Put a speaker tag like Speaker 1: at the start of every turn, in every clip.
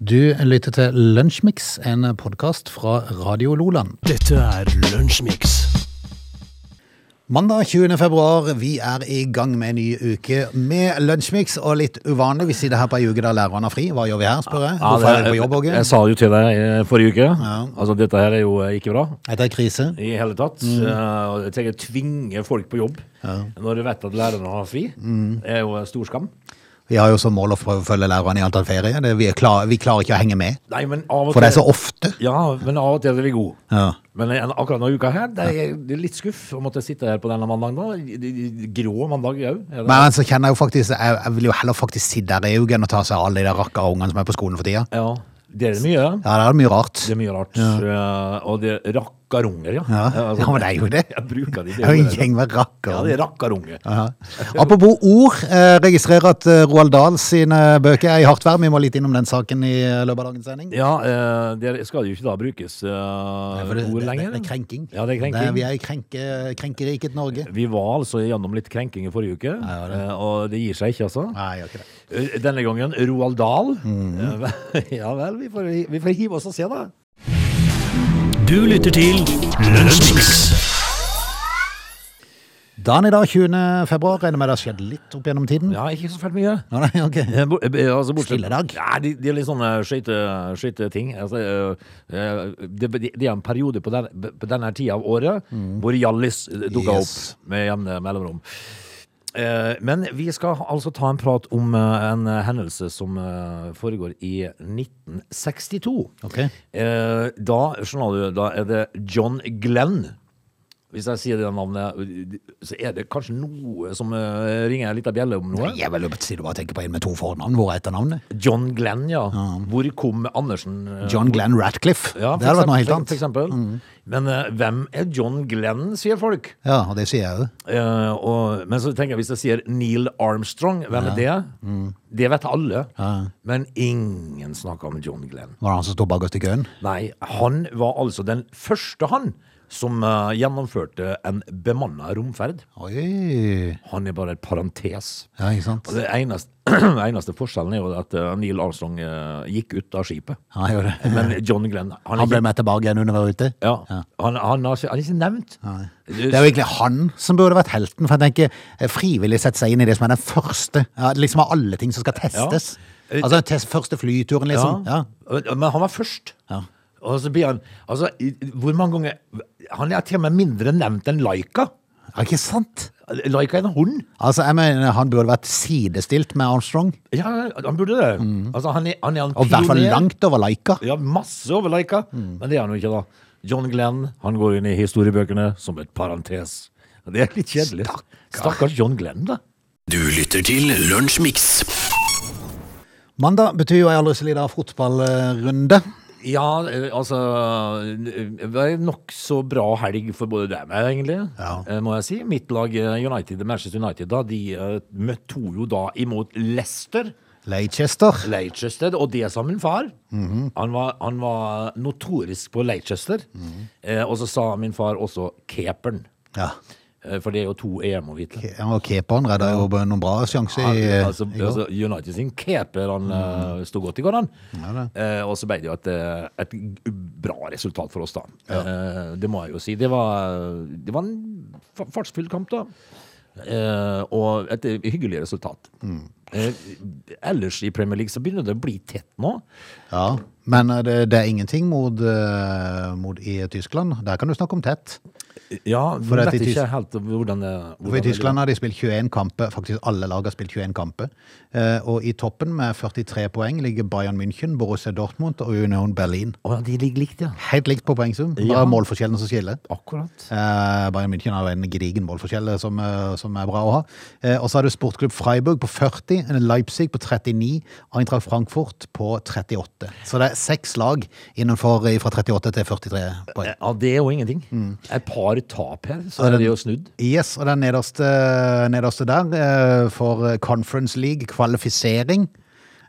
Speaker 1: Du lytter til Lunsjmix, en podkast fra Radio Loland.
Speaker 2: Dette er Lunsjmix.
Speaker 1: Mandag 20. februar, vi er i gang med en ny uke med Lunsjmix. Og litt uvanlig, vi sitter her på ei uke der læreren har fri. Hva gjør vi her, spør jeg? Hvorfor er
Speaker 3: det-
Speaker 1: dere på jobb,
Speaker 3: jeg,
Speaker 1: Åge?
Speaker 3: jeg sa det jo til deg eh, forrige uke. Altså, dette her er jo eh, ikke bra
Speaker 1: Dette er krise.
Speaker 3: i hele tatt.
Speaker 1: Mm.
Speaker 3: Eh, og jeg tenker tvinge folk på jobb når du vet at lærerne har fri.
Speaker 1: Mm.
Speaker 3: Det er jo eh, stor skam.
Speaker 1: Vi har jo som mål å prøve å følge lærerne i alt av ferie. Det, vi, er klar, vi klarer ikke å henge med,
Speaker 3: Nei, men av og
Speaker 1: for det er
Speaker 3: til
Speaker 1: så ofte.
Speaker 3: Ja, men av og til er vi gode.
Speaker 1: Ja.
Speaker 3: Men eh, akkurat denne uka her, det er jeg det er litt skuff å måtte sitte her på denne mandagen. da. Grå mandag òg.
Speaker 1: Men så kjenner jeg jo faktisk Jeg, jeg vil jo heller faktisk sitte der i uken og ta seg av alle de der rakka ungene som er på skolen for tida.
Speaker 3: Ja, det er mye.
Speaker 1: Ja, det er mye rart.
Speaker 3: Det er mye rart. Eh, og det rakkarunger, ja.
Speaker 1: Ja,
Speaker 3: Eh, altså,
Speaker 1: ja men det er jo det.
Speaker 3: Jeg bruker de.
Speaker 1: Det er jo en
Speaker 3: ordet.
Speaker 1: gjeng med rakker.
Speaker 3: Ja, det er rakkarunger.
Speaker 1: Ja. Apropos ord, eh, registrerer at eh, Roald Dahl sine bøker er i hardt vær. Vi må litt innom den saken i eh, løpet av dagens sending.
Speaker 3: Ja, eh, det skal jo ikke da brukes eh,
Speaker 1: For det,
Speaker 3: ord
Speaker 1: det,
Speaker 3: lenger.
Speaker 1: det er krenking.
Speaker 3: Ja, det er krenking.
Speaker 1: vi er i krenke, krenkeriket Norge.
Speaker 3: vi var altså gjennom litt krenking i forrige uke,
Speaker 1: Ja, det
Speaker 3: eh, og det gir seg ikke, altså.
Speaker 1: Nei, gjør ikke det.
Speaker 3: Eh, Denne gangen Roald Dahl.
Speaker 1: Mhm.
Speaker 3: Eh, ja vel, vi får, vi får hive oss og se, da.
Speaker 2: Du lytter til Lunsjmix.
Speaker 1: Dagen i dag, 20. februar, regner med det har skjedd litt opp gjennom tiden?
Speaker 3: Ja, ikke så fælt mye.
Speaker 1: Ja, nei, ok.
Speaker 3: Eh, bo- eh, Altså, bortsett-
Speaker 1: Stille dag.
Speaker 3: Ja, de, de er litt sånne skøyte- skøyteting. Altså, eh, eh, det de, de er en periode på, den, på denne tida av året hvor Hjallis eh,
Speaker 1: Mm.
Speaker 3: dukker
Speaker 1: Yes.
Speaker 3: opp med jevne mellomrom. Eh, Men vi skal altså ta en prat om eh, en hendelse som eh, foregår i 1962.
Speaker 1: Ok.
Speaker 3: Eh, Da, skjønner du, da er det John Glenn. Hvis jeg sier det navnet, eh, så er det kanskje noe som eh, ringer en liten bjelle om noe?
Speaker 1: Jeg vil jo si du bare tenker på en med to fornavn. Hvor er etternavnet?
Speaker 3: John Glenn, ja. Hvor kom Andersen eh,
Speaker 1: John Glenn Ratcliffe.
Speaker 3: ja, for
Speaker 1: det hadde vært noe
Speaker 3: eksempel-
Speaker 1: helt annet. Mm.
Speaker 3: For eksempel. Men eh, hvem er John Glenn, sier folk.
Speaker 1: Ja, og det sier jeg jo.
Speaker 3: Eh, og, men så tenker jeg hvis jeg sier Neil Armstrong, hvem er det?
Speaker 1: Mm.
Speaker 3: Det vet alle. Men ingen snakker om John Glenn.
Speaker 1: Var det han som sto bakerst i køen?
Speaker 3: Nei, han var altså den første han som eh, gjennomførte en bemanna romferd.
Speaker 1: Oi.
Speaker 3: Han er bare et parentes.
Speaker 1: Ja, ikke sant?
Speaker 3: Og det eneste, eneste forskjellen er jo at eh, Neil Armstrong eh, gikk ut av skipet.
Speaker 1: Ja, han gjorde det.
Speaker 3: Men John Glenn han,
Speaker 1: Han
Speaker 3: er
Speaker 1: ble med tilbake igjen under og ute.
Speaker 3: Ja. Han, han, har ikke, han er ikke nevnt.
Speaker 1: Det er jo egentlig han som burde vært helten, for jeg tenker eh, frivillig sette seg inn i det som er den første, ja, liksom av alle ting som skal testes.
Speaker 3: Ja. Eh,
Speaker 1: Altså den test, første flyturen, liksom. Ja.
Speaker 3: Men han var først.
Speaker 1: Ja.
Speaker 3: Og så blir han altså, i- Hvor mange ganger Han er til og med mindre nevnt enn Laika.
Speaker 1: ja, ikke sant?
Speaker 3: Laika er en hund.
Speaker 1: Altså, jeg mener han burde vært sidestilt med Armstrong,
Speaker 3: Ja, han burde det. Altså, han er, han er en
Speaker 1: Mm. og i hvert fall
Speaker 3: pioner.
Speaker 1: langt Mm. over Laika.
Speaker 3: Ja, masse over Laika. Men det er han jo ikke, da. John Glenn han går inn i historiebøkene som et parentes. Og Det er litt kjedelig. Stakkars John Glenn, da.
Speaker 2: Du lytter til Lunsjmix.
Speaker 1: Mandag betyr jo ei aldri så lita fotballrunde.
Speaker 3: Ja, eh, altså eh, Det var en nokså bra helg for både deg og meg, egentlig,
Speaker 1: Ja.
Speaker 3: eh, må jeg si. Mitt lag eh, United, Manchester United, da, de eh, møtte to jo da imot Leicester.
Speaker 1: Leicester.
Speaker 3: Leicester, og det sa min far. han, var, han var notorisk på Leicester. Eh, og så sa min far også Capern.
Speaker 1: Ja.
Speaker 3: Eh, for det er jo to EM og hvite.
Speaker 1: Ke- Og keeperen redda jo noen bra sjanser i,
Speaker 3: Ja, altså,
Speaker 1: i går.
Speaker 3: altså, United sin keeper han
Speaker 1: Mm.
Speaker 3: eh, sto godt i går, han. Eh, og så ble det jo et, eh, et g- bra resultat for oss, da. Eh, det må jeg jo si. Det var, det var en fa- fartsfylt kamp, da. Eh, og et eh, hyggelig resultat.
Speaker 1: Mm.
Speaker 3: Eh, ellers i Premier League så begynner det å bli tett nå.
Speaker 1: Ja. Men eh, det, det er ingenting mot, eh, mot i Tyskland. Der kan du snakke om tett.
Speaker 3: Ja,
Speaker 1: For
Speaker 3: for
Speaker 1: at
Speaker 3: vet
Speaker 1: i Tys-
Speaker 3: ikke helt hvordan, det- hvordan
Speaker 1: For I
Speaker 3: det-
Speaker 1: Tyskland har de spilt 21 kamper, faktisk alle lag har spilt 21 kamper. Eh, Og i toppen med 43 poeng ligger Bayern München, Borussia Dortmund og Union Berlin.
Speaker 3: Å ja, de ligger likt, ja.
Speaker 1: Helt likt på poengsum, bare
Speaker 3: Ja.
Speaker 1: målforskjellen som skiller.
Speaker 3: Akkurat.
Speaker 1: Eh, Bayern München har jo en gedigen målforskjell eh, som, eh, som er bra å ha. Eh, Og så har du sportklubb Freiburg på 40, Leipzig på 39, Eintracht Frankfurt på 38. Så det er seks lag innenfor eh, fra 38 til 43 poeng.
Speaker 3: Ja, det er jo ingenting. Et par tap her,
Speaker 1: Mm.
Speaker 3: så
Speaker 1: Ja,
Speaker 3: er
Speaker 1: den-
Speaker 3: det jo snudd.
Speaker 1: Yes, og den nederste, nederste der eh, for Conference League kvalifisering.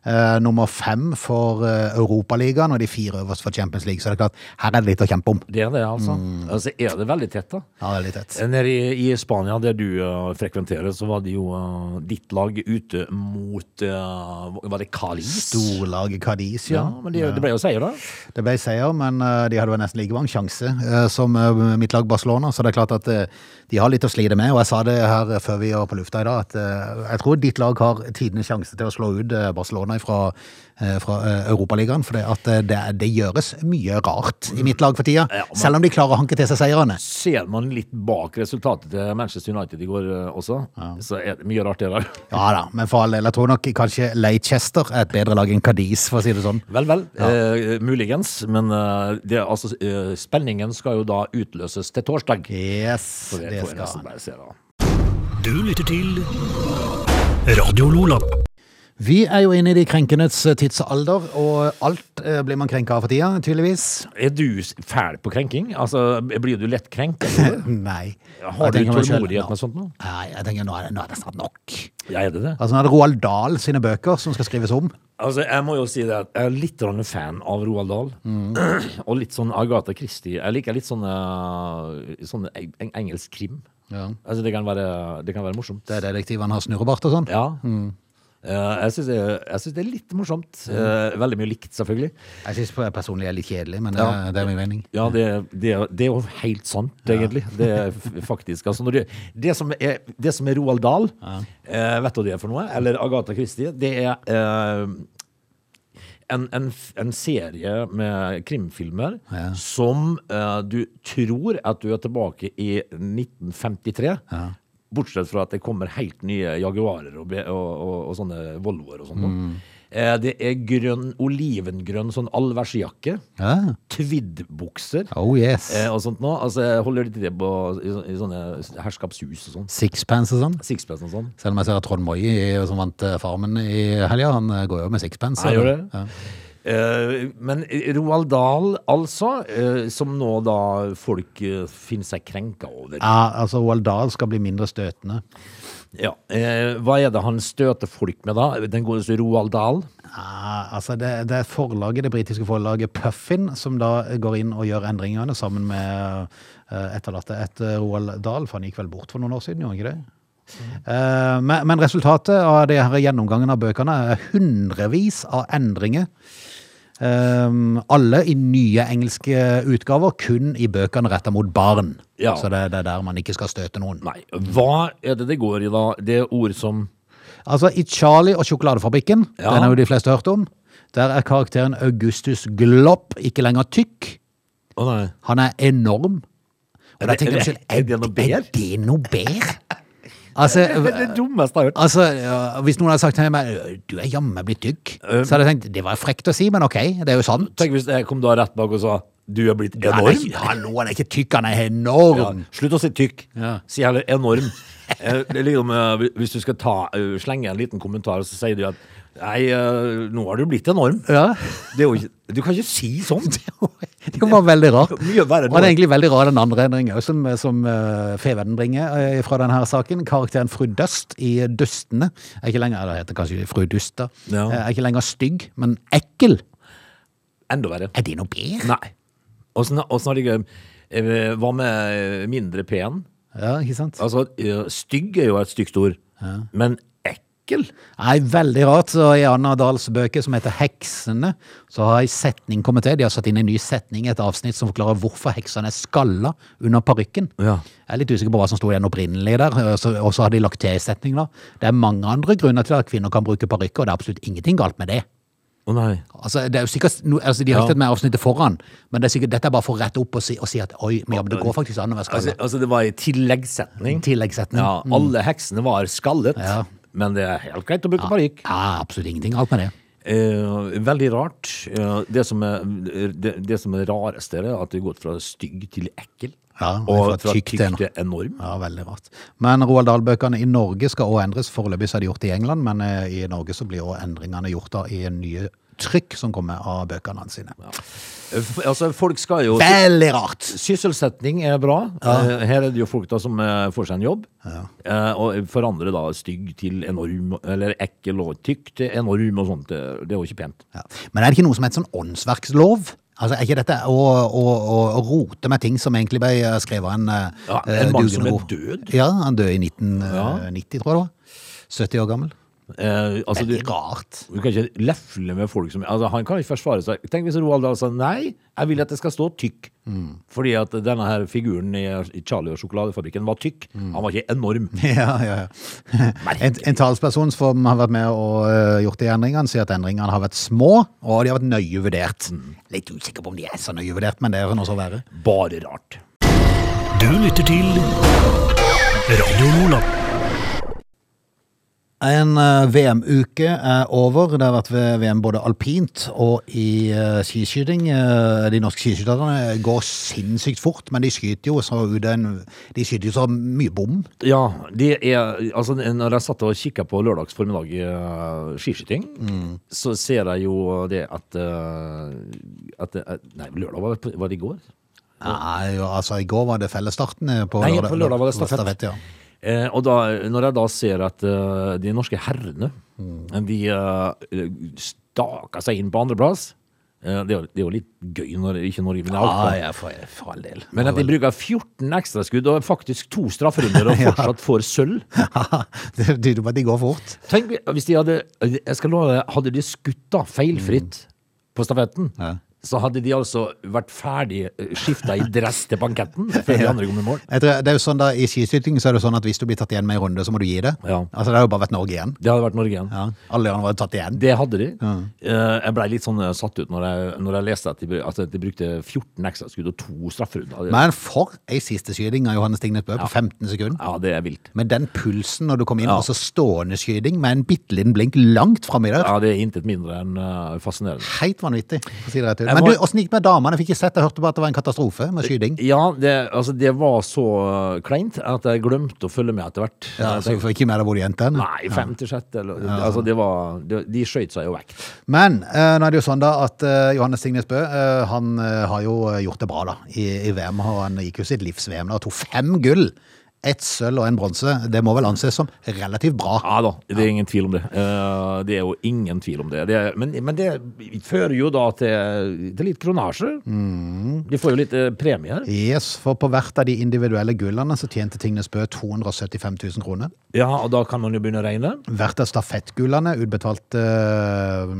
Speaker 1: eh, nummer fem for eh, Europaligaen og de fire øverst for Champions League. Så det er klart, her er det litt å kjempe om.
Speaker 3: Det er det, altså. Altså er det veldig tett, da.
Speaker 1: Ja, det er litt tett.
Speaker 3: Eh, Nede i, i Spania, der du eh, frekventerer, så var det jo eh, ditt lag ute mot eh, Var det Calis?
Speaker 1: Storlaget Cadiz,
Speaker 3: Ja,
Speaker 1: ja.
Speaker 3: men det, det ble jo seier, da.
Speaker 1: Det ble seier, men eh, de hadde jo nesten like mange sjanse eh, som eh, mitt lag Barcelona, så det er klart at eh, de har litt å slide med. Og jeg sa det her før vi var på lufta i dag, at eh, jeg tror ditt lag har tidenes sjanse til å slå ut eh, Barcelona fra, fra eh, Europaligaen. For det, at eh, det, det gjøres mye rart i mitt lag for tida,
Speaker 3: Ja, men-
Speaker 1: selv om de klarer å hanke til seg seirene.
Speaker 3: Ser man litt bak resultatet til Manchester United i går eh, også, så er det mye rart det der.
Speaker 1: Ja da, men for all del. Jeg tror nok kanskje Leicester er et bedre lag enn Cadiz, for å si det sånn.
Speaker 3: Vel, vel. Eh, muligens. Men eh, det, er altså, eh, spenningen skal jo da utløses til torsdag.
Speaker 1: Yes,
Speaker 3: Så det,
Speaker 1: det
Speaker 3: får jeg
Speaker 1: skal
Speaker 3: nesten bare se, da.
Speaker 2: Du lytter til Radio Lola.
Speaker 1: Vi er jo inne i de krenkenes eh, tidsalder, og alt eh, blir man krenka av for tida, tydeligvis.
Speaker 3: Er du s- fæl på krenking? Altså, Blir du lett krenkt? eller?
Speaker 1: Nei.
Speaker 3: Har du
Speaker 1: Jeg tenker meg selv,
Speaker 3: tålmodighet
Speaker 1: nå-
Speaker 3: med sånt nå?
Speaker 1: Nei, jeg tenker nå er, det, nå er det snart nok.
Speaker 3: Ja, er det det?
Speaker 1: Altså, nå er det Roald Dahl sine bøker som skal skrives om.
Speaker 3: Altså, Jeg må jo si det at jeg er litt grann fan av Roald Dahl.
Speaker 1: Mm.
Speaker 3: Og litt sånn Agatha Christie. Jeg liker litt sånn, eh, sånn eng- eng- engelsk krim.
Speaker 1: Ja.
Speaker 3: Altså, det kan være, det kan være morsomt.
Speaker 1: Det er detektivene har snurrebart og sånn.
Speaker 3: Ja. Eh, jeg syns det, jeg synes det er litt morsomt. Eh, veldig mye likt, selvfølgelig.
Speaker 1: Jeg syns personlig er litt kjedelig, men det,
Speaker 3: Ja.
Speaker 1: det er min mening.
Speaker 3: Ja, det, det, det er jo helt sant, egentlig. Det er f- faktisk altså, når det, det, som er, det som er Roald Dahl, eh, vet du hva det er for noe? Eller Agatha Christie? Det er eh, en, en, f- en serie med krimfilmer
Speaker 1: Ja.
Speaker 3: som eh, du tror at du er tilbake i 1953.
Speaker 1: Ja.
Speaker 3: Bortsett fra at det kommer helt nye Jaguarer og, be- og, og, og sånne Volvoer og sånn.
Speaker 1: Mm.
Speaker 3: Eh, det er grønn, olivengrønn sånn allværsjakke.
Speaker 1: Ja.
Speaker 3: Tviddbukser
Speaker 1: Oh yes.
Speaker 3: eh, og sånt nå. Altså, jeg holder litt til på i, så- i sånne herskapshus og sånn.
Speaker 1: Sixpence og sånn.
Speaker 3: Sixpence og sånn.
Speaker 1: Selv om jeg ser at Trond Moie, som vant eh, Farmen i helga, han eh, går jo med sixpence.
Speaker 3: Jeg gjør det.
Speaker 1: Ja.
Speaker 3: Eh, men Roald Dahl, altså, eh, som nå da folk eh, finner seg krenka over.
Speaker 1: Ja, altså Roald Dahl skal bli mindre støtende.
Speaker 3: Ja. Eh, hva er det han støter folk med, da? Den går jo Roald Dahl.
Speaker 1: Ja, altså det, det er forlaget, det britiske forlaget Puffin, som da går inn og gjør endringene sammen med eh, etterlatte etter Roald Dahl, for han gikk vel bort for noen år siden, gjorde han ikke det? Eh, men, men resultatet av det her gjennomgangen av bøkene er hundrevis av endringer. Eh, alle i nye engelske utgaver, kun i bøkene retta mot barn.
Speaker 3: Ja.
Speaker 1: Så det, det er der man ikke skal støte noen.
Speaker 3: Nei. Hva er det det går i, da? Det er ord som
Speaker 1: Altså, i Charlie og sjokoladefabrikken,
Speaker 3: Ja.
Speaker 1: den har jo de fleste hørt om, der er karakteren Augustus Glopp ikke lenger tykk.
Speaker 3: Å nei.
Speaker 1: Han er enorm. Og da
Speaker 3: det-
Speaker 1: tenker jeg
Speaker 3: er det-
Speaker 1: selv, er,
Speaker 3: er det noe
Speaker 1: er det noe bedre? Altså,
Speaker 3: Det er det dummeste jeg har hørt.
Speaker 1: altså, ja, hvis noen hadde sagt til meg, du er jammen blitt tykk, så hadde jeg tenkt, det var frekt å si, men ok, det er jo sant.
Speaker 3: Tenk hvis jeg kom da rett bak og sa du er blitt
Speaker 1: Han er,
Speaker 3: enorm.
Speaker 1: ikke- hallo, han er ikke tykk, han er
Speaker 3: Ja.
Speaker 1: enorm.
Speaker 3: Slutt å si tykk.
Speaker 1: Ja.
Speaker 3: Si heller enorm. Eh, Det er liksom, eh, hvis du skal ta, eh, slenge en liten kommentar, så sier du at Nei, eh, nå har du blitt enorm.
Speaker 1: Ja.
Speaker 3: Det er jo ikke, du kan ikke si sånn. sånt!
Speaker 1: Det var veldig rart.
Speaker 3: Mye verre
Speaker 1: Og det er
Speaker 3: nå.
Speaker 1: egentlig veldig rar den andre endringen også, som, som eh, Fevennen bringer eh, fra denne her saken. Karakteren fru Dust i Dustene er ikke lenger, eller heter kanskje fru Dust da,
Speaker 3: Ja.
Speaker 1: Eh, er ikke lenger stygg, men ekkel.
Speaker 3: Enda verre.
Speaker 1: Er det noe bedre?
Speaker 3: Nei. Åssen åssen har de ikke- eh, Hva med eh, mindre pen?
Speaker 1: Ja, ikke sant?
Speaker 3: Altså, eh, stygg er jo et stygt ord. Men ekkel?
Speaker 1: Nei, veldig rart. Så i Anna Dahls bøker som heter Heksene, så har en setning kommet til. De har satt inn en ny setning i et avsnitt som forklarer hvorfor heksene er skalla under parykken.
Speaker 3: Ja.
Speaker 1: Jeg er litt usikker på hva som sto igjen opprinnelig der, og så og så har de lagt til en setning da. Det er mange andre grunner til at kvinner kan bruke parykker, og det er absolutt ingenting galt med det.
Speaker 3: Å nei.
Speaker 1: Altså, det er jo sikkert, no, altså, de har
Speaker 3: Ja.
Speaker 1: ikke tatt med avsnittet foran, men det er sikkert, dette er bare for å rette opp og si, og si at oi, men ja, men det går faktisk an å være
Speaker 3: Altså,
Speaker 1: skalla.
Speaker 3: altså, det var ei tilleggssetning.
Speaker 1: Tilleggssetning.
Speaker 3: Ja, alle heksene var skallet.
Speaker 1: Ja.
Speaker 3: Men det er helt greit å bruke parykk.
Speaker 1: Ja, absolutt ingenting galt med det.
Speaker 3: Eh, veldig rart. Eh, det, som er, det, det som er rarest, er at du har gått fra stygg til ekkel.
Speaker 1: Ja,
Speaker 3: og fra
Speaker 1: tykk
Speaker 3: tykk
Speaker 1: til
Speaker 3: til enorm.
Speaker 1: Ja, veldig rart. Men Roald Dahl-bøkene i Norge skal også endres. Foreløpig så er de gjort i England, men eh, i Norge så blir også endringene gjort da, i nye trykk som kommer av bøkene hans sine.
Speaker 3: F- Altså, folk skal jo
Speaker 1: Veldig rart!
Speaker 3: Sysselsetting er bra. Eh, Her er det jo folk da som eh, får seg en jobb, eh, og forandrer da stygg til enorm, eller ekkel og tykk til enorm og sånt. eh, Det er jo ikke pent.
Speaker 1: Ja. Men er det ikke noe som heter sånn åndsverkslov? Altså, Er ikke dette å, å, å å rote med ting som egentlig ble eh, skrevet av en eh,
Speaker 3: Ja, en mann som
Speaker 1: dugende
Speaker 3: er
Speaker 1: god-
Speaker 3: død?
Speaker 1: Ja, han døde i 1990, tror jeg det var. 70 år gammel.
Speaker 3: Eh, altså, du,
Speaker 1: Veldig rart.
Speaker 3: du kan ikke lefle med folk som altså, Han kan ikke forsvare seg. Tenk hvis Roald Dahl sa nei, jeg vil at det skal stå tykk. Fordi at denne her figuren i, i Charlie og sjokoladefabrikken var tykk. Han var ikke enorm.
Speaker 1: Ja, ja, ja. En, en talsperson som har vært med og eh, gjort de endringene, sier at endringene har vært små, og de har vært nøye vurdert.
Speaker 3: Mm.
Speaker 1: Litt usikker på om de er så nøye vurdert, men det er nå så verre.
Speaker 3: Bare rart.
Speaker 2: Du lytter til Radio Lola.
Speaker 1: En eh, VM-uke er over. Det har vært ved VM både alpint og i eh, skiskyting. Eh, de norske skiskytterne går sinnssykt fort, men de skyter jo så, ut en, de skyter jo så mye bom.
Speaker 3: Ja, det er Altså, når jeg satt og kikka på lørdags formiddag eh, skiskyting, så ser jeg jo det at, eh, at eh, Nei, lørdag var, det- var det i går?
Speaker 1: Nei, jo, altså I går var det fellesstarten. eh, På
Speaker 3: Nei, på lørdag var det stafett.
Speaker 1: ja.
Speaker 3: Eh, og da, når jeg da ser at eh, de norske herrene
Speaker 1: Mm.
Speaker 3: De eh, staka seg inn på andreplass uh, det, er jo- det er jo litt gøy når ikke Norge vinner alt. da.
Speaker 1: ja, for, for all del.
Speaker 3: Men at de bruker 14 ekstraskudd og faktisk to strafferunder og fortsatt får sølv
Speaker 1: det tyder på at de går fort.
Speaker 3: Tenk hvis de hadde Jeg skal love deg, hadde de skutt da feilfritt på stafetten,
Speaker 1: Mm. Ja.
Speaker 3: så hadde de altså vært ferdig skifta i dress til banketten før de andre kom i mål.
Speaker 1: Jeg tror, det er jo sånn da, I skiskyting så er det sånn at hvis du blir tatt igjen med en runde, så må du gi det.
Speaker 3: Ja.
Speaker 1: Altså Det har jo bare vært Norge igjen.
Speaker 3: Det hadde vært Norge igjen.
Speaker 1: Ja. Alle de andre var tatt igjen.
Speaker 3: Det hadde de. Eh, Jeg blei litt sånn eh, satt ut når jeg, når jeg leste at de, br- at de brukte 14 ekstraskudd og to strafferunder.
Speaker 1: Men for ei siste skyting av Johannes Tingnes Bø på 15 sekunder.
Speaker 3: Ja, det er vilt.
Speaker 1: Men den pulsen når du kom inn, altså stående skyting med en bitte liten blink langt framme i der,
Speaker 3: Ja, det er intet mindre enn eh, fascinerende.
Speaker 1: helt vanvittig. for å si det rett ut.
Speaker 3: Jeg
Speaker 1: Men
Speaker 3: må-
Speaker 1: du, åssen gikk det med damene? Jeg fikk ikke sett, jeg hørte bare at det var en katastrofe med skyting.
Speaker 3: Ja, det, altså, det var så eh, kleint at jeg glemte å følge med etter hvert.
Speaker 1: Ja, så vi får ikke med deg hvor de endte hen.
Speaker 3: altså- Nei, femte, sjette eller, altså, det var, det, De skøyt seg jo vekk.
Speaker 1: Men eh, nå er det jo sånn da at eh, Johannes Signes Bø eh, han eh, har jo gjort det bra da i, i VM. og Han gikk jo sitt livs-VM da og tok fem gull. Ett sølv og en bronse. Det må vel anses som relativt bra.
Speaker 3: Ja da, det er ingen tvil om det. Eh, det er jo ingen tvil om det. det er, men, men det fører jo da til, til litt kronasje. De får jo litt eh, premie her.
Speaker 1: Yes, for på hvert av de individuelle gullene så tjente Tingnes Bø 275 000 kroner.
Speaker 3: Ja, og da kan man jo begynne å regne.
Speaker 1: Hvert av stafettgullene utbetalte eh,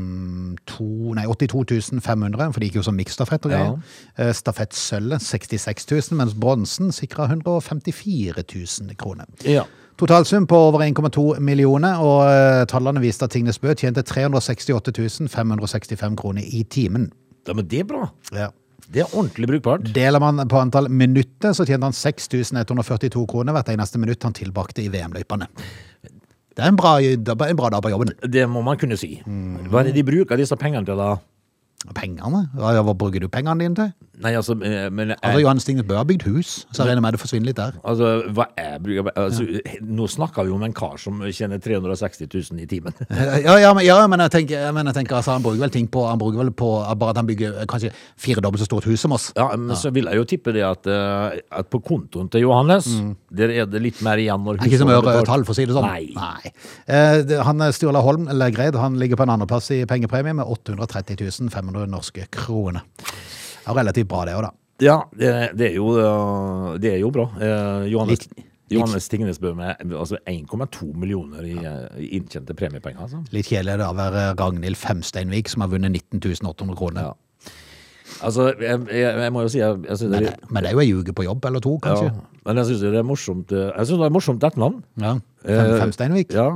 Speaker 1: to, nei, 82 500, for det gikk jo som miksstafett og greier. Eh, Stafettsølvet 66 000, mens bronsen sikra 154 000 kroner.
Speaker 3: Ja.
Speaker 1: Totalsum på over 1,2 millioner, og eh, tallene viste at Tingnes Bø tjente 368 565 kroner i timen.
Speaker 3: ja, men det er bra.
Speaker 1: Ja.
Speaker 3: Det er ordentlig brukbart.
Speaker 1: Deler man på antall minutter, så tjente han 6142 kroner hvert eneste minutt han tilbrakte i VM-løypene. Det er en bra, en bra dag på jobben.
Speaker 3: Det må man kunne si.
Speaker 1: Mm.
Speaker 3: Hva er det de bruker disse pengene til, da?
Speaker 1: Pengene? Hva hva bruker du pengene dine til?
Speaker 3: Nei, altså, eh, men jeg,
Speaker 1: Altså, Johan Stignes Bø har bygd hus, så jeg regner med det forsvinner litt der.
Speaker 3: altså, hva jeg bruker altså, Nå snakker vi om en kar som tjener 360 000 i timen.
Speaker 1: Ja, ja, men, ja, men jeg tenker, men jeg tenker altså, han bruker vel ting på Han bruker vel på bare at han bygger eh, kanskje firedobbelt så stort hus som oss.
Speaker 3: Ja, men så vil jeg jo tippe det at, eh, at på kontoen til Johannes, der er det litt mer igjen når
Speaker 1: Det Mm. er Ikke som
Speaker 3: husholdet
Speaker 1: øre
Speaker 3: betaler.
Speaker 1: og tall, for å si det sånn.
Speaker 3: Nei.
Speaker 1: Eh, det- han eh, Sturla Holm Legreid han ligger på en andreplass i pengepremie med 830 500 norske kroner. Ja, relativt bra, det òg, da.
Speaker 3: Ja, det, det, er jo, eh, det er jo bra. Eh, Johannes,
Speaker 1: Litt-
Speaker 3: Johannes Tingnes Bø med altså 1,2 millioner i eh, i inntjente premiepenger. Altså.
Speaker 1: Litt kjedelig er det å være eh, Ragnhild Femsteinvik, som har vunnet 19 800 kroner.
Speaker 3: Ja. Altså, jeg, jeg, jeg må jo si jeg, jeg synes det,
Speaker 1: Men, men det er jo ei uke på jobb eller to,
Speaker 3: ja,
Speaker 1: kanskje.
Speaker 3: Men jeg syns det er morsomt eh, Jeg synes det er morsomt dette navn.
Speaker 1: Ja. Fem, Mm.
Speaker 3: Eh,
Speaker 1: Femsteinvik.
Speaker 3: Ja.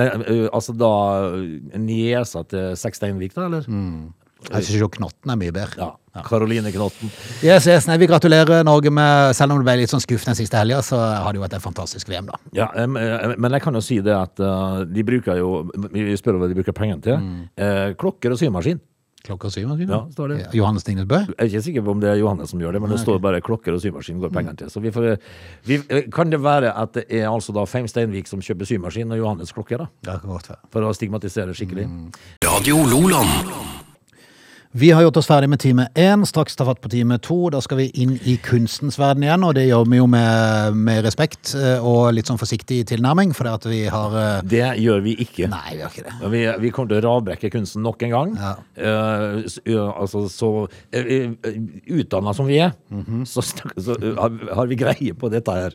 Speaker 3: Det, eh, altså da eh, niesa til Seksteinvik, da, eller?
Speaker 1: Mm. Jeg syns jo Knotten er mye bedre.
Speaker 3: Ja. Karoline Knotten.
Speaker 1: Yes, yes, nei, vi gratulerer Norge med Selv om det ble litt sånn skuff den siste helga, så har det jo vært et fantastisk VM, da.
Speaker 3: Ja, em, eh, men jeg kan jo si det
Speaker 1: Mm.
Speaker 3: at eh, de bruker jo Vi spør hva de bruker pengene til. Eh, klokker og symaskin.
Speaker 1: Klokka syv, sier du?
Speaker 3: Ja, står det.
Speaker 1: Ja, Johannes Tingnes Bø?
Speaker 3: Jeg er ikke sikker på om det er Johannes som gjør det, men det står bare klokker og symaskin går pengene til. Så vi får, eh, vi, kan det være at det er altså da Feim Steinvik som kjøper symaskin og Johannes klokker, da?
Speaker 1: Det kan godt være.
Speaker 3: For å stigmatisere skikkelig.
Speaker 1: Mm.
Speaker 2: Radio Loland.
Speaker 1: Vi har gjort oss ferdig med time én, straks ta fatt på time to. Da skal vi inn i kunstens verden igjen, og det gjør vi jo med, med respekt eh, og litt sånn forsiktig tilnærming, for det at vi har eh,
Speaker 3: Det gjør vi ikke.
Speaker 1: Nei, vi har ikke det.
Speaker 3: Ja, Vi, vi kommer til å radbrekke kunsten nok en gang.
Speaker 1: Ja.
Speaker 3: Eh, s- ja, altså, så uh, Utdanna som vi er,
Speaker 1: Mhm.
Speaker 3: så, snak- så eh, har- har vi greie på dette her.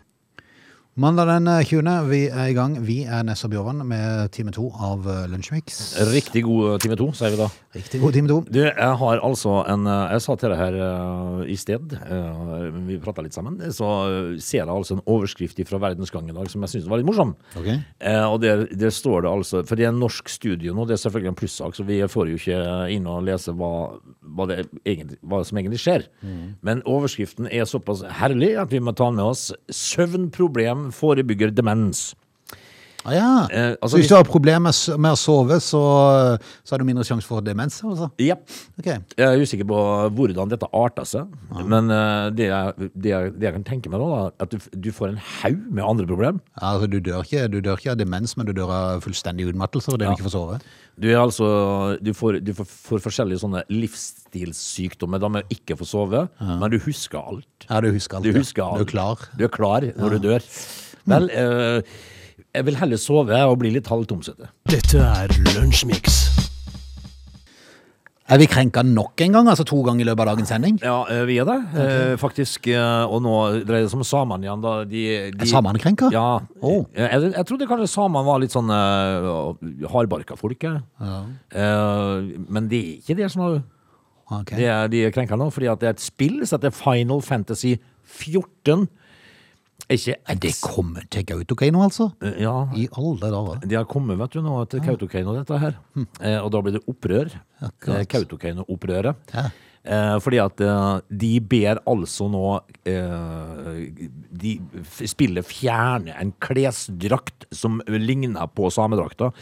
Speaker 1: Mandag den eh, 20. Vi er i gang. Vi er Ness og Bjørvann med time to av eh, Lunsjmix.
Speaker 3: Riktig god eh, time to, sier vi da.
Speaker 1: Riktig god time to.
Speaker 3: Du, jeg har altså en eh, Jeg sa til deg her eh, i sted, eh, vi prata litt sammen, så eh, ser jeg altså en overskrift fra Verdensgang i dag som jeg syns var litt morsom.
Speaker 1: Ok.
Speaker 3: Eh, og der, der står det altså For det er en norsk studie nå, det er selvfølgelig en plussak, så vi får jo ikke inn og lese hva, hva, det egentlig, hva som egentlig skjer. Men overskriften er såpass herlig at vi må ta den med oss. 'Søvnproblem forebygger demens'.
Speaker 1: Ah, ja.
Speaker 3: Eh, altså,
Speaker 1: så hvis du har problemer med, s- med å sove, så, eh, så har du mindre sjanse for demens? altså?
Speaker 3: Ja.
Speaker 1: Ok.
Speaker 3: Jeg er usikker på hvordan dette arter seg, men eh, det jeg, det, jeg, det jeg kan tenke meg nå, da, at du, f- du får en haug med andre problem.
Speaker 1: Altså, du, dør ikke, du dør ikke av demens, men du dør av fullstendig utmattelse og det du
Speaker 3: Ja.
Speaker 1: ikke får sove.
Speaker 3: Du, er altså, du, får, du får, får forskjellige sånne livsstilssykdommer da med å ikke få sove, men du husker alt.
Speaker 1: Ja, du husker alt.
Speaker 3: Du
Speaker 1: ja.
Speaker 3: husker alt.
Speaker 1: Du er klar.
Speaker 3: Du er klar når du dør. Vel, eh, jeg vil heller sove og bli litt halvtomsete.
Speaker 2: Dette er Lunsjmix.
Speaker 1: Er vi krenka nok en gang? Altså to ganger i løpet av dagens sending?
Speaker 3: Ja, eh, vi er det, eh, faktisk. eh, Og nå dreier det seg om samene igjen. Da. De, de,
Speaker 1: Er samene krenka?
Speaker 3: Ja.
Speaker 1: Å.
Speaker 3: Jeg, jeg trodde kanskje samene var litt sånn eh, hardbarka folk. jeg. Eh, men det er ikke det som er
Speaker 1: Ok.
Speaker 3: det er, de er krenka nå, fordi at det er et spill som heter Final Fantasy 14. Er ikke
Speaker 1: Er det kommet til Kautokeino, altså?
Speaker 3: Eh, Ja.
Speaker 1: I alle dager.
Speaker 3: De har kommet vet du, nå til Kautokeino, dette her. Eh, og da blir det opprør.
Speaker 1: Akkurat.
Speaker 3: Eh, Kautokeino-opprøret.
Speaker 1: Ja.
Speaker 3: Eh, fordi at eh, de ber altså nå eh, De f- spillet fjerne en klesdrakt som ligner på samedrakta.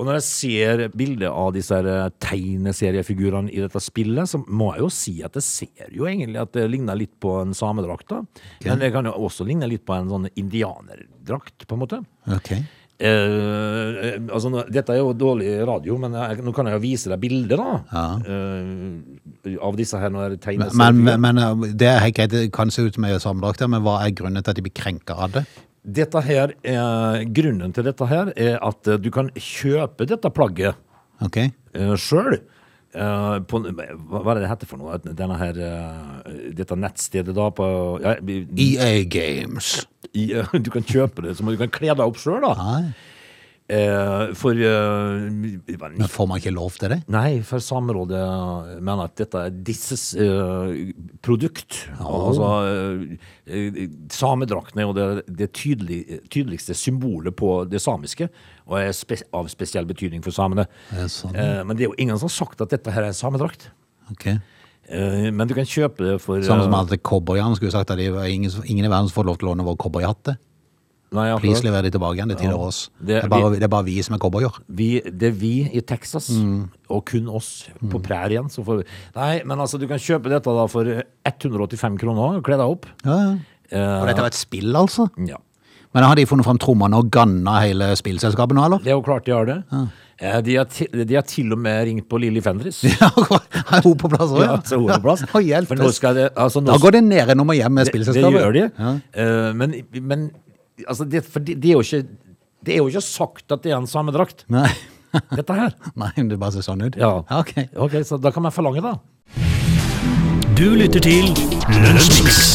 Speaker 3: Og når jeg ser bildet av disse her, eh, tegneseriefigurene i dette spillet, så må jeg jo si at jeg ser jo egentlig at det ligner litt på en samedrakt. da. Men det kan jo også ligne litt på en sånn indianerdrakt, på en måte.
Speaker 1: Ok.
Speaker 3: Eh, eh, altså, nå- dette er jo dårlig radio, men jeg, nå kan jeg jo vise deg bilder da eh, av disse her når jeg tegner
Speaker 1: Men,
Speaker 3: serier.
Speaker 1: men, men uh, det er helt greit, det kan se ut som ei samedrakter, men hva er grunnen til at de blir krenka av det?
Speaker 3: Dette her, eh, grunnen til dette her er at eh, du kan kjøpe dette plagget
Speaker 1: Ok?
Speaker 3: uh, sjøl. eh, på, hva hva er det det heter for noe? Denne her, eh, dette nettstedet da på ja, i,
Speaker 1: EA E Games.
Speaker 3: i, eh, Du kan kjøpe det, så må du kan kle deg opp sjøl, da.
Speaker 1: Nei,
Speaker 3: Eh, for eh, hva er det,
Speaker 1: men får man ikke lov til det?
Speaker 3: Nei, for Samerådet mener at dette er disses eh, produkt. Altså, eh, eh, samedrakten er jo det, det tydelig, tydeligste symbolet på det samiske, og er spe av spesiell betydning for samene.
Speaker 1: Er det sånn?
Speaker 3: Eh, men det er jo ingen som har sagt at dette her er samedrakt.
Speaker 1: Ok.
Speaker 3: Eh, men du kan kjøpe det for
Speaker 1: Samme som
Speaker 3: eh,
Speaker 1: at cowboyene skulle sagt at de, ingen, ingen i verden får lov til å låne vår cowboyhatte.
Speaker 3: nei, akkurat.
Speaker 1: Please, lever de tilbake igjen, det tilhører oss. Det
Speaker 3: Det-
Speaker 1: er, bare, det er bare vi som er cowboyer.
Speaker 3: vi, det er vi i Texas,
Speaker 1: Mm.
Speaker 3: og kun oss, på prærien. Så får vi Nei, men altså, du kan kjøpe dette da for 185 kroner, kle deg opp.
Speaker 1: Ja, ja. Og
Speaker 3: Eh,
Speaker 1: dette var et spill, altså?
Speaker 3: ja.
Speaker 1: Men har de funnet fram trommene og ganna hele spillselskapet nå, eller?
Speaker 3: Det er jo klart de har det. Eh, De, har til, de har til og med ringt på Lilly Fendris.
Speaker 1: Ja, er hun på plass òg?
Speaker 3: Ja, så hun er på plass.
Speaker 1: Og hjelp
Speaker 3: For nå
Speaker 1: oss.
Speaker 3: skal det, altså, nå,
Speaker 1: Da går det ned enn om å hjem med
Speaker 3: det,
Speaker 1: spillselskapet.
Speaker 3: det gjør de.
Speaker 1: Ja.
Speaker 3: Eh, men men altså, det, for det, det, er jo ikke, det er jo ikke sagt at det er en samedrakt,
Speaker 1: Nei.
Speaker 3: dette her.
Speaker 1: Nei, men det bare ser sånn ut.
Speaker 3: Ja.
Speaker 1: Ok.
Speaker 3: Ok, Så da kan man forlange, da.
Speaker 2: Du lytter til Lunsjmix.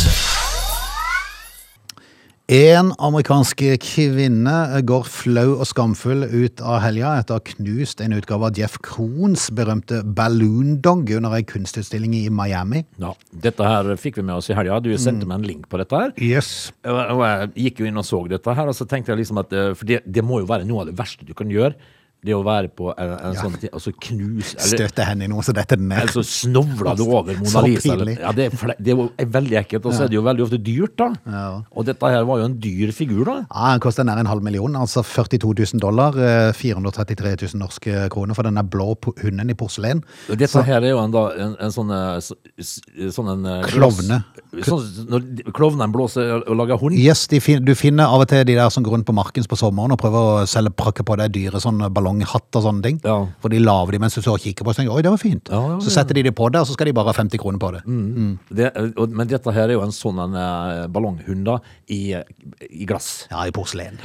Speaker 1: En amerikansk kvinne går flau og skamfull ut av helga etter å ha knust en utgave av Jeff Krohns berømte Balloon Dog under ei kunstutstilling i Miami.
Speaker 3: Ja, dette her fikk vi med oss i helga. Du
Speaker 1: Mm.
Speaker 3: sendte meg en link på dette her.
Speaker 1: Yes.
Speaker 3: Og og jeg gikk jo inn og så dette her, og så tenkte jeg liksom at eh, For det, det må jo være noe av det verste du kan gjøre. Det å være på en, en sånn ting, og så knuse eller,
Speaker 1: Støtte henne i noe, så dette
Speaker 3: eller
Speaker 1: ned.
Speaker 3: så snovla du over Mona
Speaker 1: Så
Speaker 3: Lisa.
Speaker 1: pinlig.
Speaker 3: Eller, ja, det, er fle- det er jo veldig ekkelt, og så er det jo veldig ofte dyrt, da.
Speaker 1: Ja.
Speaker 3: Og dette her var jo en dyr figur, da.
Speaker 1: Ja, Den koster nær en halv million, altså 42 000 dollar. eh, 433 000 norske kroner for denne blå po- hunden i porselen.
Speaker 3: Og Dette her er jo en, da, en, en sånn eh, s- s- sånn en eh,
Speaker 1: Klovne.
Speaker 3: glass- Sånn, når de- klovnen blåser og- og lager hund.
Speaker 1: Yes, de fin du finner av og til de der som går rundt på marken på sommeren og prøver å selge prakke på deg dyre sånn ballonghatt og sånne ting.
Speaker 3: Ja.
Speaker 1: For de laver de mens du står og kikker på og tenker oi, det var fint.
Speaker 3: Ja, Mm. ja,
Speaker 1: Så setter de det på deg, og så skal de bare ha 50 kroner på det. Mm.
Speaker 3: Det, eh, og, men dette her er jo en sånn en eh, ballonghund da, i, eh, i glass.
Speaker 1: Ja, i porselen.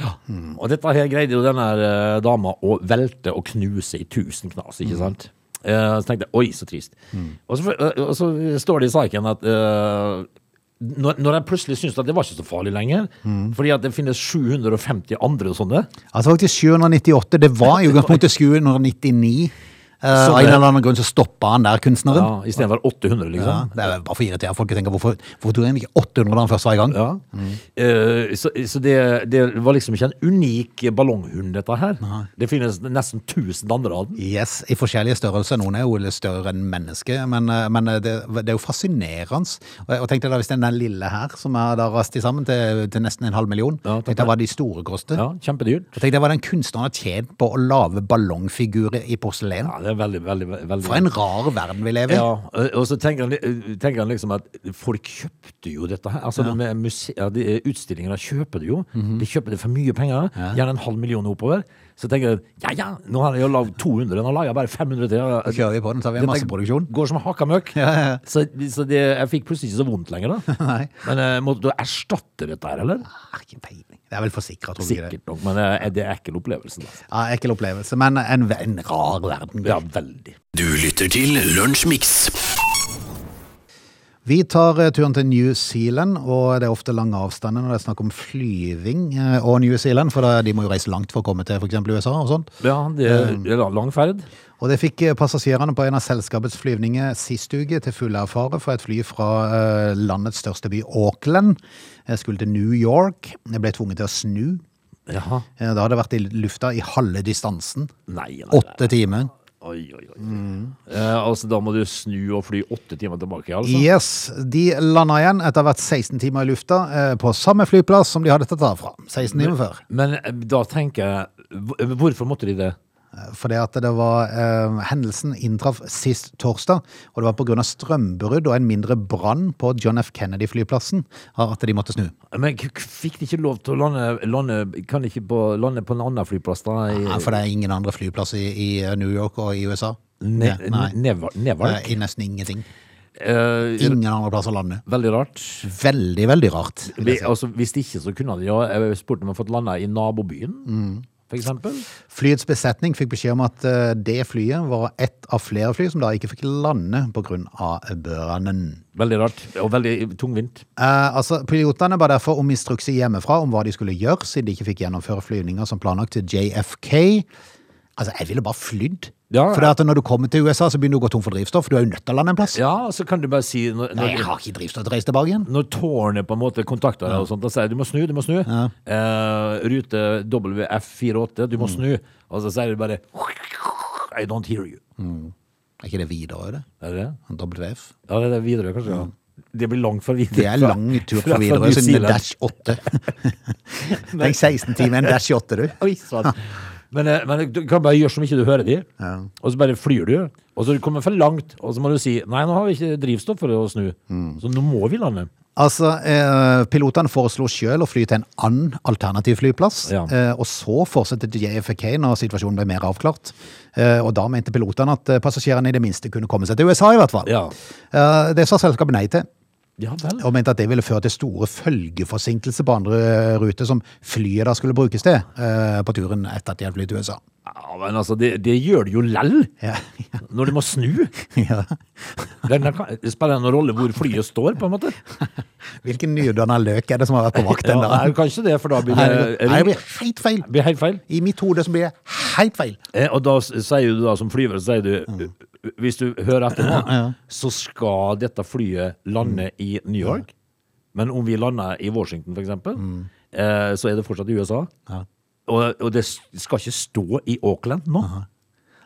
Speaker 3: Og dette her greide jo denne eh, dama å velte og knuse i tusen knas,
Speaker 1: Mm.
Speaker 3: ikke sant? Eh, så tenkte jeg, oi, så trist. Og, så, eh, og så står det i saken at eh, når, når jeg plutselig syns at det var ikke så farlig lenger,
Speaker 1: Mm.
Speaker 3: fordi at det finnes 750 andre sånne
Speaker 1: Altså faktisk 798, det var i utgangspunktet 799. Eh, Av en eller annen grunn så stoppa han der, kunstneren.
Speaker 3: ja, istedenfor 800, liksom.
Speaker 1: Ja, det er bare for å irritere folk. Jeg tenker, hvorfor, hvorfor tok han ikke 800 da han først var i gang?
Speaker 3: Ja.
Speaker 1: Mm.
Speaker 3: Eh, så så det, det var liksom ikke en unik ballonghund, dette her. Det finnes nesten 1000 andre av den.
Speaker 1: Yes, I forskjellige størrelser. Noen er jo litt større enn mennesker, men, eh, men eh, det, det er jo fascinerende. Og jeg- og tenkte da, Hvis den der lille her, som er da rast i sammen til, til nesten en halv million,
Speaker 3: Ja, takk.
Speaker 1: tenkte jeg hva de store koster.
Speaker 3: Ja, Kjempedyrt.
Speaker 1: Jeg tenkte jeg hva den kunstneren har tjent på å lage ballongfigurer i porselen.
Speaker 3: Ja, det er veldig, veldig, veldig
Speaker 1: For en rar verden vi lever i.
Speaker 3: ja, og og så tenker han, li- tenker han liksom at folk kjøpte jo dette her. Altså med muse- ja, de eh, Utstillingene kjøper det jo. De kjøper det for mye penger. Gjerne en halv million oppover. Så tenker jeg ja ja, nå har jeg jo lagd 200, nå lager jeg bare 500 til.
Speaker 1: Så kjører vi på den, så har vi en
Speaker 3: Dette
Speaker 1: masseproduksjon.
Speaker 3: Går som hakka møkk. Så, så det, jeg fikk plutselig ikke så vondt lenger, da.
Speaker 1: Nei.
Speaker 3: Men eh, måtte du erstatte dette her, eller?
Speaker 1: Ah, Ikke peiling. Det er vel forsikra, tror jeg.
Speaker 3: Sikkert nok, men eh, det er ekkel opplevelse, da.
Speaker 1: Ja, ekkel opplevelse, men en, en rar verden.
Speaker 3: Ja, veldig.
Speaker 2: Du lytter til Lunsjmix.
Speaker 1: Vi tar eh, turen til New Zealand, og det er ofte lange avstander når det er snakk om flyving eh, og New Zealand, for da- de må jo reise langt for å komme til f.eks. USA og sånt.
Speaker 3: Ja, det er, det er lang- lang ferd.
Speaker 1: Og det fikk eh, passasjerene på en av selskapets flyvninger sist uke til full erfare for et fly fra eh, landets største by, Auckland. Jeg skulle til New York. Jeg ble tvunget til å snu.
Speaker 3: Jaha.
Speaker 1: Eh, Da hadde jeg vært i lufta i halve distansen.
Speaker 3: Nei, nei, nei.
Speaker 1: Åtte timer.
Speaker 3: Oi, oi, oi.
Speaker 1: Mm.
Speaker 3: Eh, altså, da må du snu og fly åtte timer tilbake, altså?
Speaker 1: Yes, de landa igjen etter hvert 16 timer i lufta eh, på samme flyplass som de hadde tatt av fra 16 timer før.
Speaker 3: Men eh, da tenker jeg hv- Hvorfor måtte de det?
Speaker 1: Fordi at det var eh, Hendelsen inntraff sist torsdag, og det var pga. strømbrudd og en mindre brann på John F. Kennedy-flyplassen at de måtte snu.
Speaker 3: Men k- k- fikk de ikke lov til å lande, lande Kan de ikke på, lande på en annen flyplass, da? I,
Speaker 1: Ja, for det er ingen andre flyplasser i, i eh, New York og i USA.
Speaker 3: ne,
Speaker 1: Nei.
Speaker 3: Nevar-
Speaker 1: Det
Speaker 3: Nevark?
Speaker 1: er nesten ingenting.
Speaker 3: Eh,
Speaker 1: Ingen andre plasser å lande.
Speaker 3: veldig rart.
Speaker 1: Veldig, veldig rart. vil
Speaker 3: Vi,
Speaker 1: jeg si.
Speaker 3: altså, hvis ikke, så kunne de jo jeg spurte om jeg har fått landa i nabobyen,
Speaker 1: Mm.
Speaker 3: for eksempel.
Speaker 1: Flyets besetning fikk beskjed om at eh, det flyet var ett av flere fly som da ikke fikk lande pga. brannen.
Speaker 3: Veldig rart, og veldig tungvint.
Speaker 1: Eh, altså, Pilotene ba derfor om instrukser hjemmefra om hva de skulle gjøre, siden de ikke fikk gjennomføre flyvninger som planlagt til JFK. Altså, Jeg ville bare flydd.
Speaker 3: Ja,
Speaker 1: for det at når du kommer til USA, så begynner du å gå tom for drivstoff. Du er jo nødt til å lande en plass.
Speaker 3: Ja, så kan du bare si når,
Speaker 1: Nei, jeg
Speaker 3: når,
Speaker 1: har ikke drivstoff til å reise tilbake igjen.
Speaker 3: når tårnet på en måte kontakter deg og sånt, da sier jeg, du må snu, du må snu. Eh, rute WF48, du må
Speaker 1: Mm.
Speaker 3: snu. Og så sier du bare I don't hear you.
Speaker 1: Er ikke det Widerøe, det?
Speaker 3: Er det det?
Speaker 1: WF?
Speaker 3: Ja, det er Widerøe, kanskje. Ja. Det blir langt for Widerøe.
Speaker 1: Det er lang tur
Speaker 3: fra- fra
Speaker 1: for Widerøe,
Speaker 3: New
Speaker 1: siden det
Speaker 3: Zealand.
Speaker 1: er Dash 8. Tenk 16 timer, en Dash 8, du.
Speaker 3: Oi, sant. Men, eh, men du kan bare gjøre som ikke du hører de, og så bare flyr du. Og så du kommer for langt, og så må du si Nei, nå har vi ikke drivstoff for å snu,
Speaker 1: Mm.
Speaker 3: så nå må vi lande.
Speaker 1: Altså, eh, Pilotene foreslo sjøl å fly til en annen alternativ flyplass.
Speaker 3: Ja.
Speaker 1: Eh, og så fortsatte JFK når situasjonen ble mer avklart. Eh, og da mente pilotene at eh, passasjerene i det minste kunne komme seg til USA, i hvert fall.
Speaker 3: Ja.
Speaker 1: Eh, det sa selskapet nei til,
Speaker 3: Ja vel.
Speaker 1: og mente at det ville føre til store følgeforsinkelser på andre eh, ruter som flyet da skulle brukes til eh, på turen etter at de hadde flydd til USA.
Speaker 3: Ja, men altså, det, det gjør det jo lell
Speaker 1: Ja, ja,
Speaker 3: når du må snu.
Speaker 1: ja.
Speaker 3: Det kan- det spiller ingen rolle hvor flyet står, på en måte.
Speaker 1: Hvilken nydanna løk er det som har vært på vakt
Speaker 3: Ja,
Speaker 1: den
Speaker 3: nei,
Speaker 1: dagen?
Speaker 3: kanskje det, for da blir
Speaker 1: Nei, det
Speaker 3: det,
Speaker 1: nei, det blir helt feil.
Speaker 3: det blir helt feil.
Speaker 1: I mitt hode så blir det helt feil.
Speaker 3: Eh, Og da s- sier du da som flyver, så sier du eh,
Speaker 1: Mm.
Speaker 3: Hvis du hører etter nå, så skal dette flyet
Speaker 1: Mm.
Speaker 3: lande i New
Speaker 1: Mm.
Speaker 3: York. Men om vi lander i Washington, for eksempel, eh, så er det fortsatt i USA. Og, og det skal ikke stå i Auckland nå.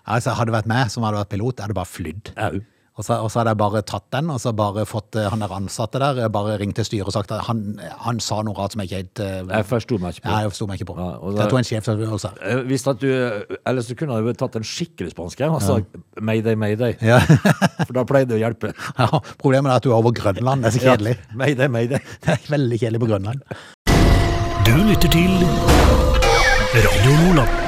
Speaker 1: Altså, hadde det vært meg som hadde vært pilot, hadde jeg bare flydd.
Speaker 3: Au.
Speaker 1: Og så, og så hadde jeg bare tatt den, og så bare fått eh, han der ansatte der, eh, bare ringt til styret og sagt at han, han sa noe rart som jeg ikke helt eh,
Speaker 3: Jeg forsto meg ikke på
Speaker 1: Nei,
Speaker 3: det.
Speaker 1: jeg forsto meg ikke på.
Speaker 3: Ja, og
Speaker 1: Så
Speaker 3: da-
Speaker 1: jeg tror en sjefsavgjørelse.
Speaker 3: Eh, Hvis at du, ellers så kunne du tatt en skikkelig spansk en. Altså, Mayday, mayday.
Speaker 1: Ja.
Speaker 3: For da pleier det å hjelpe.
Speaker 1: Ja, problemet er at du er over Grønland. Det er så kjedelig.
Speaker 3: Ja. Mayday, mayday.
Speaker 1: Det er veldig kjedelig på Grønland.
Speaker 2: Du lytter til Radio Nordland.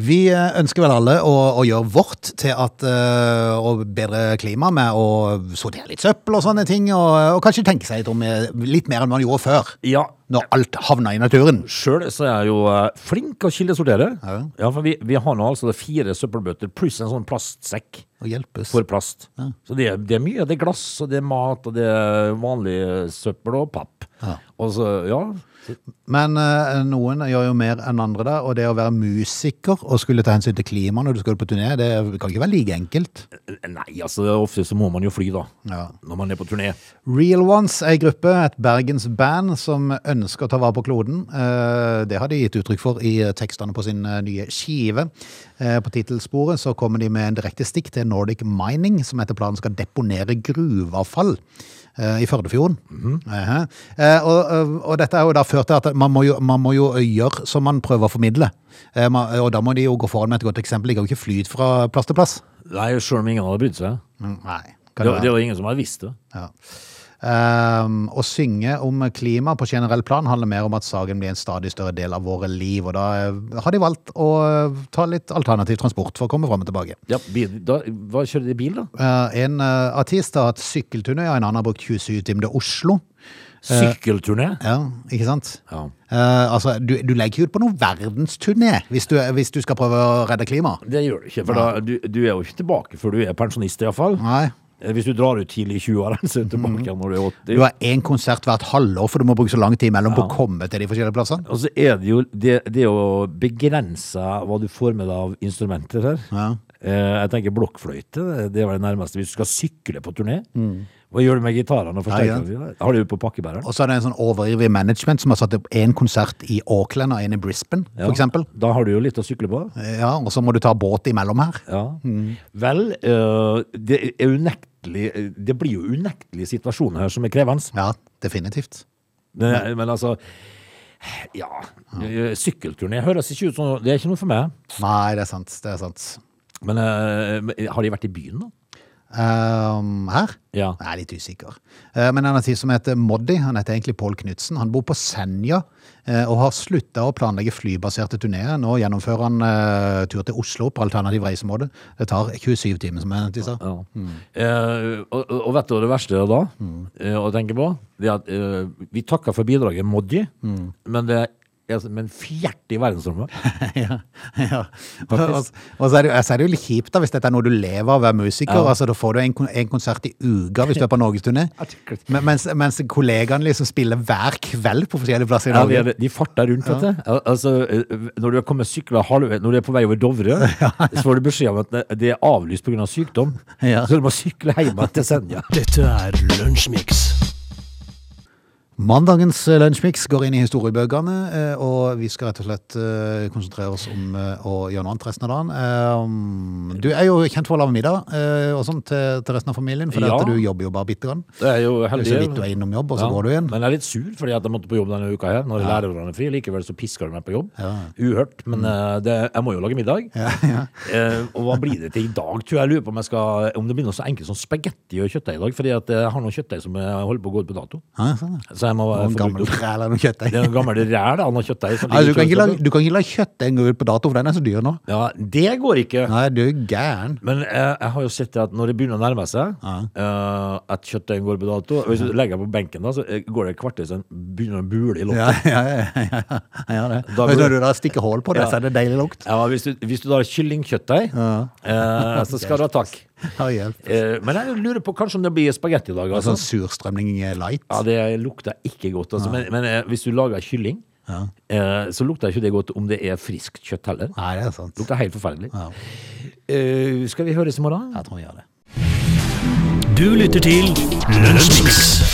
Speaker 1: Vi eh, ønsker vel alle å, å gjøre vårt til at, eh, å bedre klima med å sortere litt søppel og sånne ting, og, og kanskje tenke seg litt om eh, litt mer enn man gjorde før,
Speaker 3: Ja,
Speaker 1: når alt havna i naturen.
Speaker 3: sjøl så er jeg jo eh, flink å kildesortere. Ja.
Speaker 1: Ja.
Speaker 3: for vi, vi har nå altså fire søppelbøtter pluss en sånn plastsekk
Speaker 1: Og hjelpes.
Speaker 3: for plast. Så det, er- det er mye. Det er glass, og det er mat, og det er vanlig eh, søppel og papp.
Speaker 1: Ja.
Speaker 3: Og så, ja.
Speaker 1: Men eh, noen gjør jo mer enn andre der, og det å være musiker og skulle ta hensyn til klima når du skal på turné, det kan ikke være like enkelt.
Speaker 3: Nei, altså ofte så må man jo fly, da.
Speaker 1: Ja.
Speaker 3: Når man er på turné.
Speaker 1: Real Ones er en gruppe, et bergensband som ønsker å ta vare på kloden. Eh, Det har de gitt uttrykk for i tekstene på sin eh, nye skive. Eh, På titelsporet så kommer de med en direkte stikk til Nordic Mining, som etter planen skal deponere gruveavfall eh, i Førdefjorden. Aha. Eh, Og, og- og dette er jo da ført til at man må jo, man må jo gjøre som man prøver å formidle. Eh, man- Og da må de jo gå foran med et godt eksempel. De kan jo ikke fly fra plass til plass.
Speaker 3: Nei, sjøl om ingen hadde brydd seg.
Speaker 1: Mm, Nei.
Speaker 3: Det,
Speaker 1: kan det være.
Speaker 3: det var ingen som hadde visst det.
Speaker 1: Ja. Ehm, å synge om klima på generell plan handler mer om at saken blir en stadig større del av våre liv, og da eh, har de valgt å eh, ta litt alternativ transport for å komme fram og tilbake.
Speaker 3: Ja, bil, da, hva kjører de bil, da?
Speaker 1: Eh, en eh, artist har hatt sykkelturné, og en annen har brukt 27 timer til Oslo.
Speaker 3: Sykkelturné?
Speaker 1: Ja, ikke sant?
Speaker 3: Ja.
Speaker 1: Eh, altså, du, du legger ikke ut på noen verdensturné hvis, du- eh, hvis du skal prøve å redde klimaet.
Speaker 3: Det gjør du ikke, for da, du, du er jo ikke tilbake før du er pensjonist, iallfall.
Speaker 1: Nei.
Speaker 3: Eh, Hvis du drar ut tidlig i 20-årene, så er du tilbake igjen når du er 80.
Speaker 1: Du har én konsert hvert halvår, for du må bruke så lang tid mellom på å komme til de forskjellige plassene.
Speaker 3: Og så altså, er det jo det, det å begrense hva du får med deg av instrumenter her.
Speaker 1: Ja.
Speaker 3: Eh, jeg tenker blokkfløyte, det- det var det nærmeste hvis du skal sykle på turné. Hva gjør du med gitarene og
Speaker 1: Nei,
Speaker 3: forsterkerne? Har du på pakkebæreren?
Speaker 1: Mm. Og så er det en sånn overivrig management som har satt opp én konsert i Auckland og én i Brisbane, for eksempel.
Speaker 3: Da har du jo litt å sykle på.
Speaker 1: Ja, Mm. og så må du ta båt imellom her.
Speaker 3: Ja. Vel, eh, det er unektelig Det blir jo unektelig situasjoner her som er krevende.
Speaker 1: Ja, definitivt.
Speaker 3: Men, men altså Ja. eh, Sykkelturné høres ikke ut som Det er ikke noe for meg.
Speaker 1: Nei, det er sant. Det er sant.
Speaker 3: Men eh, men har de vært i byen, da?
Speaker 1: Ehm, her?
Speaker 3: Ja.
Speaker 1: Jeg er litt usikker. Eh, men en artist som heter Moddi, han heter egentlig Pål Knutsen. Han bor på Senja eh, og har slutta å planlegge flybaserte turneer. Nå gjennomfører han eh, tur til Oslo på alternativ reisemåte. Det tar 27 timer, som jeg sa.
Speaker 3: Ja. Eh, og, og og vet du hva det verste er da,
Speaker 1: Mm.
Speaker 3: eh, å tenke på? Det er at eh, vi takker for bidraget, Moddi,
Speaker 1: Mm.
Speaker 3: men det er som en fjert i verdensrommet.
Speaker 1: ja. ja. Og, og, og så er det, jo- så er det jo litt kjipt da, hvis dette er noe du lever av å være musiker.
Speaker 3: Ja.
Speaker 1: Altså, da får du en, kon- en konsert i uka hvis du er på norgesturné. Men- Mens, mens kollegaene liksom spiller hver kveld på forskjellige plasser i
Speaker 3: Ja, de,
Speaker 1: Norge.
Speaker 3: er- de farter rundt, vet du. Al- Altså, eh, når du har kommet sykla halvvei, når du er på vei over Dovre, så får du beskjed om at det- det er avlyst pga. Av sykdom.
Speaker 1: Ja.
Speaker 3: Så du må sykle hjem til Senja.
Speaker 2: Dette er Lunsjmix.
Speaker 1: Mandagens eh, Lunsjmix går inn i historiebøkene, eh, og vi skal rett og slett eh, konsentrere oss om eh, å gjøre noe annet resten av dagen. Eh, Du er jo kjent for å lage middag eh, og sånn til, til resten av familien, for
Speaker 3: Ja.
Speaker 1: du jobber jo bare bitte grann.
Speaker 3: Det er jo
Speaker 1: Det er
Speaker 3: heldig.
Speaker 1: jo så vidt du er innom jobb, og så
Speaker 3: Ja,
Speaker 1: går du igjen.
Speaker 3: Men jeg er litt sur fordi at jeg måtte på jobb denne uka her. Når lærerne er fri, likevel så pisker de meg på jobb. Uhørt.
Speaker 1: Mm.
Speaker 3: Men eh, det, jeg må jo lage middag. Eh, og hva blir det til i dag, tror jeg. Jeg lurer på om, jeg skal, om det blir noe så enkelt som spagetti og kjøttdeig i dag. Fordi at jeg har noen kjøttdeig som eh, holder på å gå ut på dato.
Speaker 1: Ja, sånn, ja.
Speaker 3: Så jeg må eh,
Speaker 1: Noen
Speaker 3: få brukt
Speaker 1: gamle
Speaker 3: opp.
Speaker 1: ræl eller noe kjøttdeig.
Speaker 3: Det er noen gammel ræl av noe kjøttdeig. som
Speaker 1: Altså, du,
Speaker 3: ligger
Speaker 1: kan
Speaker 3: i
Speaker 1: ikke la,
Speaker 3: kjøleskapet.
Speaker 1: du kan ikke la kjøttdeigen gå ut på dato, for den er så dyr nå.
Speaker 3: Ja, det går ikke.
Speaker 1: Nei, du er gæren.
Speaker 3: Men jeg, jeg har jo sett det at når det begynner å nærme seg eh, at kjøttdeigen går på dato og Hvis du legger den på benken, da, så eh, går det et kvarter, så begynner den å bule i lommen.
Speaker 1: Ja, ja, ja, ja, ja det.
Speaker 3: Da
Speaker 1: Men
Speaker 3: blir-
Speaker 1: når du da stikker hål på det,
Speaker 3: Ja.
Speaker 1: så er det deilig lukt.
Speaker 3: Ja, hvis du, hvis du da har kyllingkjøttdeig, eh, så skal du ha takk.
Speaker 1: Ja, hjelp.
Speaker 3: Eh, men jeg lurer på kanskje om det blir spagetti i dag. Altså.
Speaker 1: Sånn surstrømning light.
Speaker 3: Ja, det lukter ikke godt. Altså. Men, men eh, hvis du lager kylling, eh, så lukter ikke det godt om det er friskt kjøtt heller.
Speaker 1: Nei, det er sant.
Speaker 3: Lukter helt forferdelig.
Speaker 1: Ja.
Speaker 3: Eh, skal vi høres i morgen?
Speaker 1: Jeg tror vi gjør det.
Speaker 2: Du lytter til Lunsjmix.